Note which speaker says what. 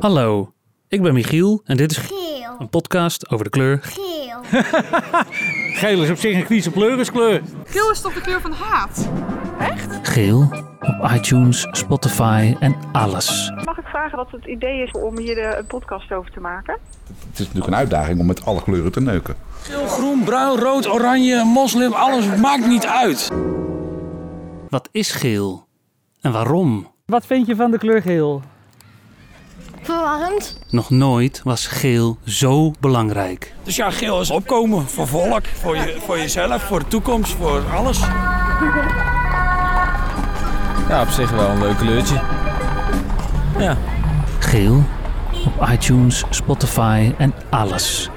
Speaker 1: Hallo, ik ben Michiel en dit is
Speaker 2: Geel,
Speaker 1: een podcast over de kleur.
Speaker 2: geel,
Speaker 3: Geel is op zich een kwieze pleuriskleur.
Speaker 4: Geel is toch de kleur van haat?
Speaker 1: Geel op iTunes, Spotify en alles.
Speaker 4: Mag ik vragen wat het idee is om hier eh, een podcast over te maken?
Speaker 5: Het is natuurlijk een uitdaging om met alle kleuren te neuken.
Speaker 3: Geel, groen, bruin, rood, oranje, moslim, alles maakt niet uit.
Speaker 1: Wat is geel en waarom?
Speaker 6: Wat vind je van de kleur geel?
Speaker 2: verwarrend,
Speaker 1: Nog nooit was geel zo belangrijk.
Speaker 3: Dus ja, geel is opkomen voor volk, voor, je, voor jezelf, voor de toekomst, voor alles. Ja, op zich wel een leuk kleurtje.
Speaker 1: Geel op iTunes, Spotify en alles.